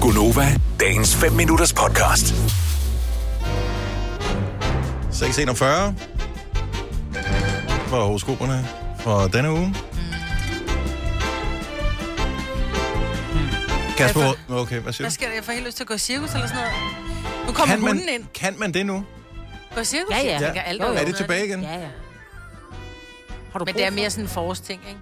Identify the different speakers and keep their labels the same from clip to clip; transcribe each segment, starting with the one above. Speaker 1: Gunova, dagens 5 minutters podcast.
Speaker 2: 641 for horoskoperne for denne
Speaker 3: Hmm.
Speaker 2: uge. Kasper,
Speaker 3: Kasper.
Speaker 2: okay, hvad siger du?
Speaker 3: Hvad sker Altså, der? Jeg får helt lyst til at gå i cirkus eller sådan noget. Nu kommer
Speaker 2: Øhm. Kan
Speaker 3: hunden
Speaker 2: man,
Speaker 3: ind.
Speaker 2: kan man det nu?
Speaker 3: Gå i cirkus?
Speaker 4: Ja, ja.
Speaker 2: Ja.
Speaker 4: Jeg kan alt
Speaker 3: Er
Speaker 2: Er
Speaker 4: overhovedet.
Speaker 2: det tilbage igen?
Speaker 4: Ja, ja. Har du
Speaker 3: Men det er mere sådan en forårsting, ikke?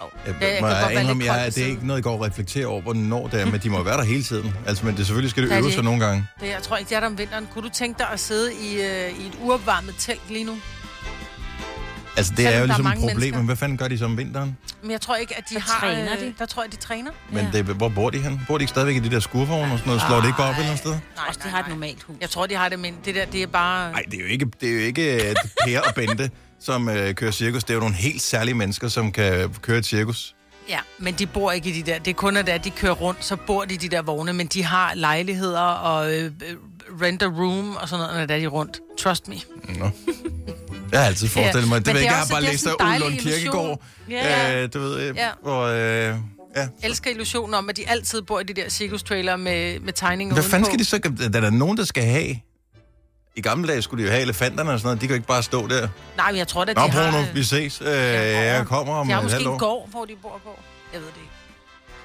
Speaker 2: Jeg,
Speaker 3: Ja, jeg
Speaker 2: må
Speaker 3: kan godt
Speaker 2: jeg,
Speaker 3: være lidt
Speaker 2: indrømme, jeg,
Speaker 3: kold
Speaker 2: at det er
Speaker 3: siden.
Speaker 2: ikke noget, jeg går og reflekterer over, hvornår det er, men de må jo være der hele tiden. Altså, men det selvfølgelig skal det
Speaker 3: Ja, det
Speaker 2: øve
Speaker 3: er
Speaker 2: sig
Speaker 3: ikke.
Speaker 2: nogle gange.
Speaker 3: Det, jeg tror ikke, det er der om vinteren. Kunne du tænke dig at sidde i, øh, i et uopvarmet telt lige nu?
Speaker 2: Altså, det
Speaker 3: Selvom
Speaker 2: er
Speaker 3: der
Speaker 2: jo
Speaker 3: er
Speaker 2: ligesom et
Speaker 3: mange
Speaker 2: problem,
Speaker 3: mennesker.
Speaker 2: men hvad fanden gør de så om vinteren?
Speaker 3: Men jeg tror ikke, at de
Speaker 4: Der
Speaker 3: har... øh,
Speaker 4: træner de.
Speaker 3: Der tror jeg, de træner.
Speaker 2: Men
Speaker 4: Ja.
Speaker 2: det, hvor bor de hen? Bor de ikke stadigvæk i de der skurvogne og sådan
Speaker 3: Ah,
Speaker 2: noget? Slår det ikke bare op et eller andet sted?
Speaker 3: Nej,
Speaker 4: Også de har et normalt hus.
Speaker 3: Jeg tror, de har det, men det der, det er bare...
Speaker 2: Nej, det er jo ikke, det er jo ikke øh, Per og Bente, som øh, kører cirkus. Det er jo nogle helt særlige mennesker, som kan køre et cirkus.
Speaker 3: Ja, men de bor ikke i de der. Det er kun, at da de kører rundt, så bor de i de der vogne, men de har lejligheder og øh, øh, rent a room og sådan noget, når der er de rundt. Trust me.
Speaker 2: Nå. Jeg har altid forestillet mig. Det
Speaker 3: men
Speaker 2: ved
Speaker 3: det
Speaker 2: jeg ikke, jeg har
Speaker 3: er også-
Speaker 2: bare
Speaker 3: det er
Speaker 2: læst af
Speaker 3: sådan en dejlig
Speaker 2: Ulund Kirkegaard.
Speaker 3: illusion.
Speaker 2: Øh, du ved, øh,
Speaker 3: Ja.
Speaker 2: hvor... Øh, ja.
Speaker 3: elsker illusionen om, at de altid bor i de der cirkustrailer med, med tegninger
Speaker 2: Hvad fanden skal
Speaker 3: udenpå.
Speaker 2: de så... Der er der nogen, der skal have... I gamle dage skulle de jo have elefanterne og sådan noget. De kan jo ikke bare stå der.
Speaker 3: Nej, men jeg tror da, de
Speaker 2: Nå,
Speaker 3: har...
Speaker 2: Bruno,
Speaker 3: øh,
Speaker 2: vi ses. Øh,
Speaker 3: ja,
Speaker 2: jeg kommer om
Speaker 3: de har
Speaker 2: et
Speaker 3: måske
Speaker 2: halvt
Speaker 3: en
Speaker 2: år.
Speaker 3: gård, hvor de bor på. Jeg ved det ikke.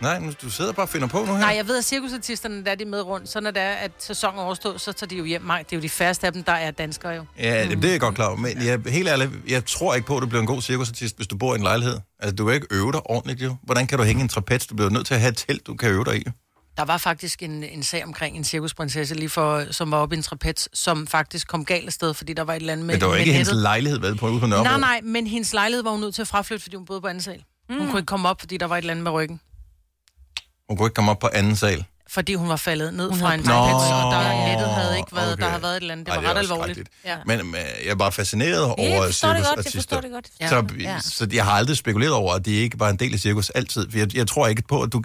Speaker 2: Nej, men du sidder bare og finder på nu her.
Speaker 3: Nej, jeg ved, at cirkusartisterne, der er de med rundt, så når det er, at sæsonen overstår, så tager de jo hjem. Nej, det er jo de færreste af dem, der er danskere jo.
Speaker 2: Ja, det, det er jeg godt klar over. Men jeg, helt ærligt, jeg tror ikke på, at du bliver en god cirkusartist, hvis du bor i en lejlighed. Altså, du kan ikke øve dig ordentligt, jo. Hvordan kan du hænge en trapez? Du bliver nødt til at have et telt, du kan øve dig i.
Speaker 3: Der var faktisk en, en sag omkring en cirkusprinsesse, lige for, som var oppe i en trapez, som faktisk kom galt af sted, fordi der var et eller andet med
Speaker 2: Men det var
Speaker 3: med
Speaker 2: ikke hendes
Speaker 3: nettet.
Speaker 2: lejlighed, hvad på ude på Nørrebro.
Speaker 3: Nej, nej, men hendes lejlighed var hun nødt til at fraflytte, fordi hun boede på anden sal. Mm. Hun kunne ikke komme op, fordi der var et eller andet med ryggen.
Speaker 2: Hun kunne ikke komme op på anden sal.
Speaker 3: fordi hun var faldet ned
Speaker 4: Hun
Speaker 3: fra
Speaker 4: havde
Speaker 3: en
Speaker 4: Nå,
Speaker 3: trapez, og der nettet havde ikke
Speaker 2: okay.
Speaker 3: været, okay. der havde været et eller andet. Det
Speaker 2: Ej,
Speaker 3: var
Speaker 2: er
Speaker 3: ret
Speaker 2: også
Speaker 3: alvorligt. Ja.
Speaker 2: skrækkeligt. Men, men jeg er bare fascineret over
Speaker 4: jeg forstår det godt, jeg
Speaker 2: cirkusartister.
Speaker 4: forstår det godt.
Speaker 3: Ja.
Speaker 2: Så,
Speaker 4: Ja.
Speaker 2: så jeg har aldrig spekuleret over, at de ikke var en del af cirkus altid. For jeg, jeg tror ikke på, at du,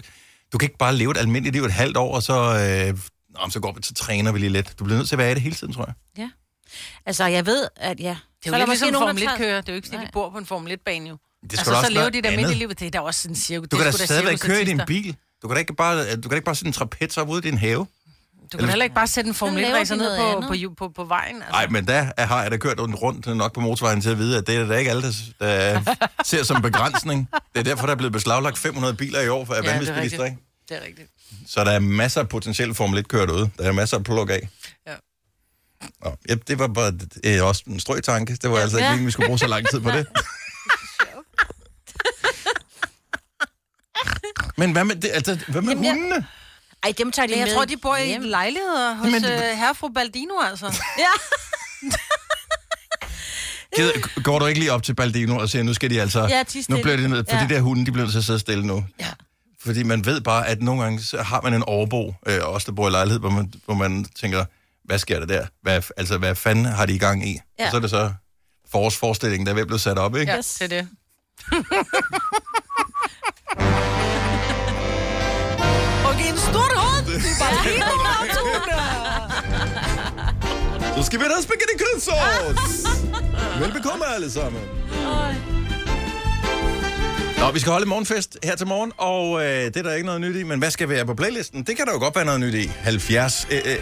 Speaker 2: du kan ikke bare leve et almindeligt liv et halvt år, og så, øh, nå, så går vi, så træner vi lige lidt. Du bliver nødt til at være i det hele tiden, tror jeg.
Speaker 4: Ja. Altså, jeg ved, at ja.
Speaker 3: Det er jo lidt ligesom Formel
Speaker 4: der
Speaker 3: 1
Speaker 4: tager-
Speaker 3: kører. Det er jo ikke, fordi de
Speaker 4: Nej.
Speaker 3: bor på en Formel 1-bane jo.
Speaker 2: Det skal
Speaker 3: altså,
Speaker 2: da også
Speaker 3: så lever
Speaker 2: være
Speaker 3: de der
Speaker 2: andet.
Speaker 3: midt i livet. Det er da også en cirkus.
Speaker 2: Du
Speaker 3: det
Speaker 2: kan
Speaker 3: er
Speaker 2: da
Speaker 3: sgu
Speaker 2: stadigvæk køre i din
Speaker 3: cirkusartister.
Speaker 2: bil. Du kan da ikke bare, du kan da ikke bare sætte en trapez op ude i din have.
Speaker 3: Du kan da heller ikke bare sætte en Formel
Speaker 4: laver
Speaker 3: 1-racer
Speaker 4: de
Speaker 3: ned
Speaker 4: noget
Speaker 3: på,
Speaker 4: andet.
Speaker 3: på, ju- på, på vejen. Altså.
Speaker 2: Nej, men der er- har jeg da kørt rundt nok på motorvejen til at vide, at det er da ikke alle, der, der ser som begrænsning. Det er derfor, der er blevet beslaglagt 500 biler i år for
Speaker 3: det er
Speaker 2: vanvidsbilister,
Speaker 3: rigtigt.
Speaker 2: ikke?
Speaker 3: Det er rigtigt.
Speaker 2: Så der er masser af potentielle Formel 1 kørt ude. Der er masser at plukke af.
Speaker 3: Ja.
Speaker 2: Nå, ja, det var bare øh, også en strøg tanke. Det var altså ikke
Speaker 4: Ja.
Speaker 2: meningen, vi skulle bruge så lang tid på det. Men hvad med, det, altså, hvad med
Speaker 4: jeg-
Speaker 2: hundene?
Speaker 4: Ej, dem tager de
Speaker 3: Men jeg
Speaker 4: med.
Speaker 3: tror, de bor i
Speaker 4: hjem.
Speaker 3: lejligheder hos
Speaker 2: Men-
Speaker 3: men... herrefru Baldino, altså.
Speaker 4: Ja.
Speaker 2: Gider, går du ikke lige op til Baldino og siger, nu skal de altså...
Speaker 4: Ja, ti
Speaker 2: nu
Speaker 4: stille.
Speaker 2: bliver det ned, for
Speaker 4: Ja.
Speaker 2: de der hunde, de bliver nødt til at sidde stille nu.
Speaker 3: Ja.
Speaker 2: Fordi man ved bare, at nogle gange så har man en overbo, øh, også der bor i lejlighed, hvor man, hvor man tænker, hvad sker der der? Hvad, altså, hvad fanden har de i gang i?
Speaker 4: Ja.
Speaker 2: Og så er det så forårsforestillingen, der er ved at blive sat op, ikke?
Speaker 3: Ja,
Speaker 2: Ja.
Speaker 4: Yes.
Speaker 3: det er det. Og giv en stort hånd! Det er bare lige på
Speaker 2: Så skal vi have noget spaghetti kødsovs! Velbekomme alle sammen! Nå, vi skal holde morgenfest her til morgen, og øh, det er der ikke noget nyt i, men hvad skal være på playlisten? Det kan der jo godt være noget nyt i. 70. Øh, øh,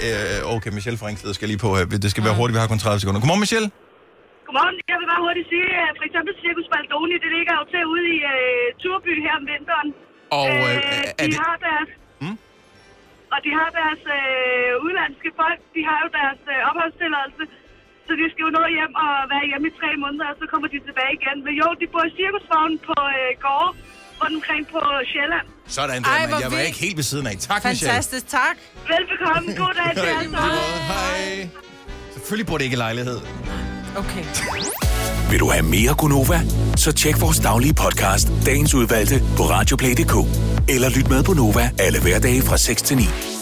Speaker 2: øh, okay, Michelle Franksted skal lige på her. Det skal være hurtigt, vi har kun 30 sekunder. Godmorgen, Michelle.
Speaker 5: Godmorgen. Jeg vil bare hurtigt sige, at for eksempel Circus Baldoni, det ligger jo til ude i uh, Turby her om vinteren.
Speaker 2: Og øh,
Speaker 5: Øh,
Speaker 2: er
Speaker 5: de
Speaker 2: det...
Speaker 5: har deres...
Speaker 2: Mm?
Speaker 5: Og de har deres øh, udenlandske folk, de har jo deres øh, opholdstilladelse, så de skal jo nå hjem og være hjemme i tre måneder, og så kommer de tilbage igen. Men jo, de bor i cirkusvognen på øh, gårde rundt omkring på Sjælland.
Speaker 2: Sådan der,
Speaker 3: Ej,
Speaker 2: Ej,
Speaker 3: hvor
Speaker 2: men jeg var
Speaker 3: vildt.
Speaker 2: ikke helt ved siden af. Tak,
Speaker 3: Fantastisk, tak.
Speaker 5: Velbekomme. God dag til
Speaker 2: Michelle.
Speaker 5: jer.
Speaker 2: Hej. Hej. Selvfølgelig burde det ikke i lejlighed.
Speaker 3: Okay.
Speaker 1: Vil du have mere Gunova? Så tjek vores daglige podcast, dagens udvalgte, på radioplay.dk. Eller lyt med på Nova alle hverdage fra 6 til 9.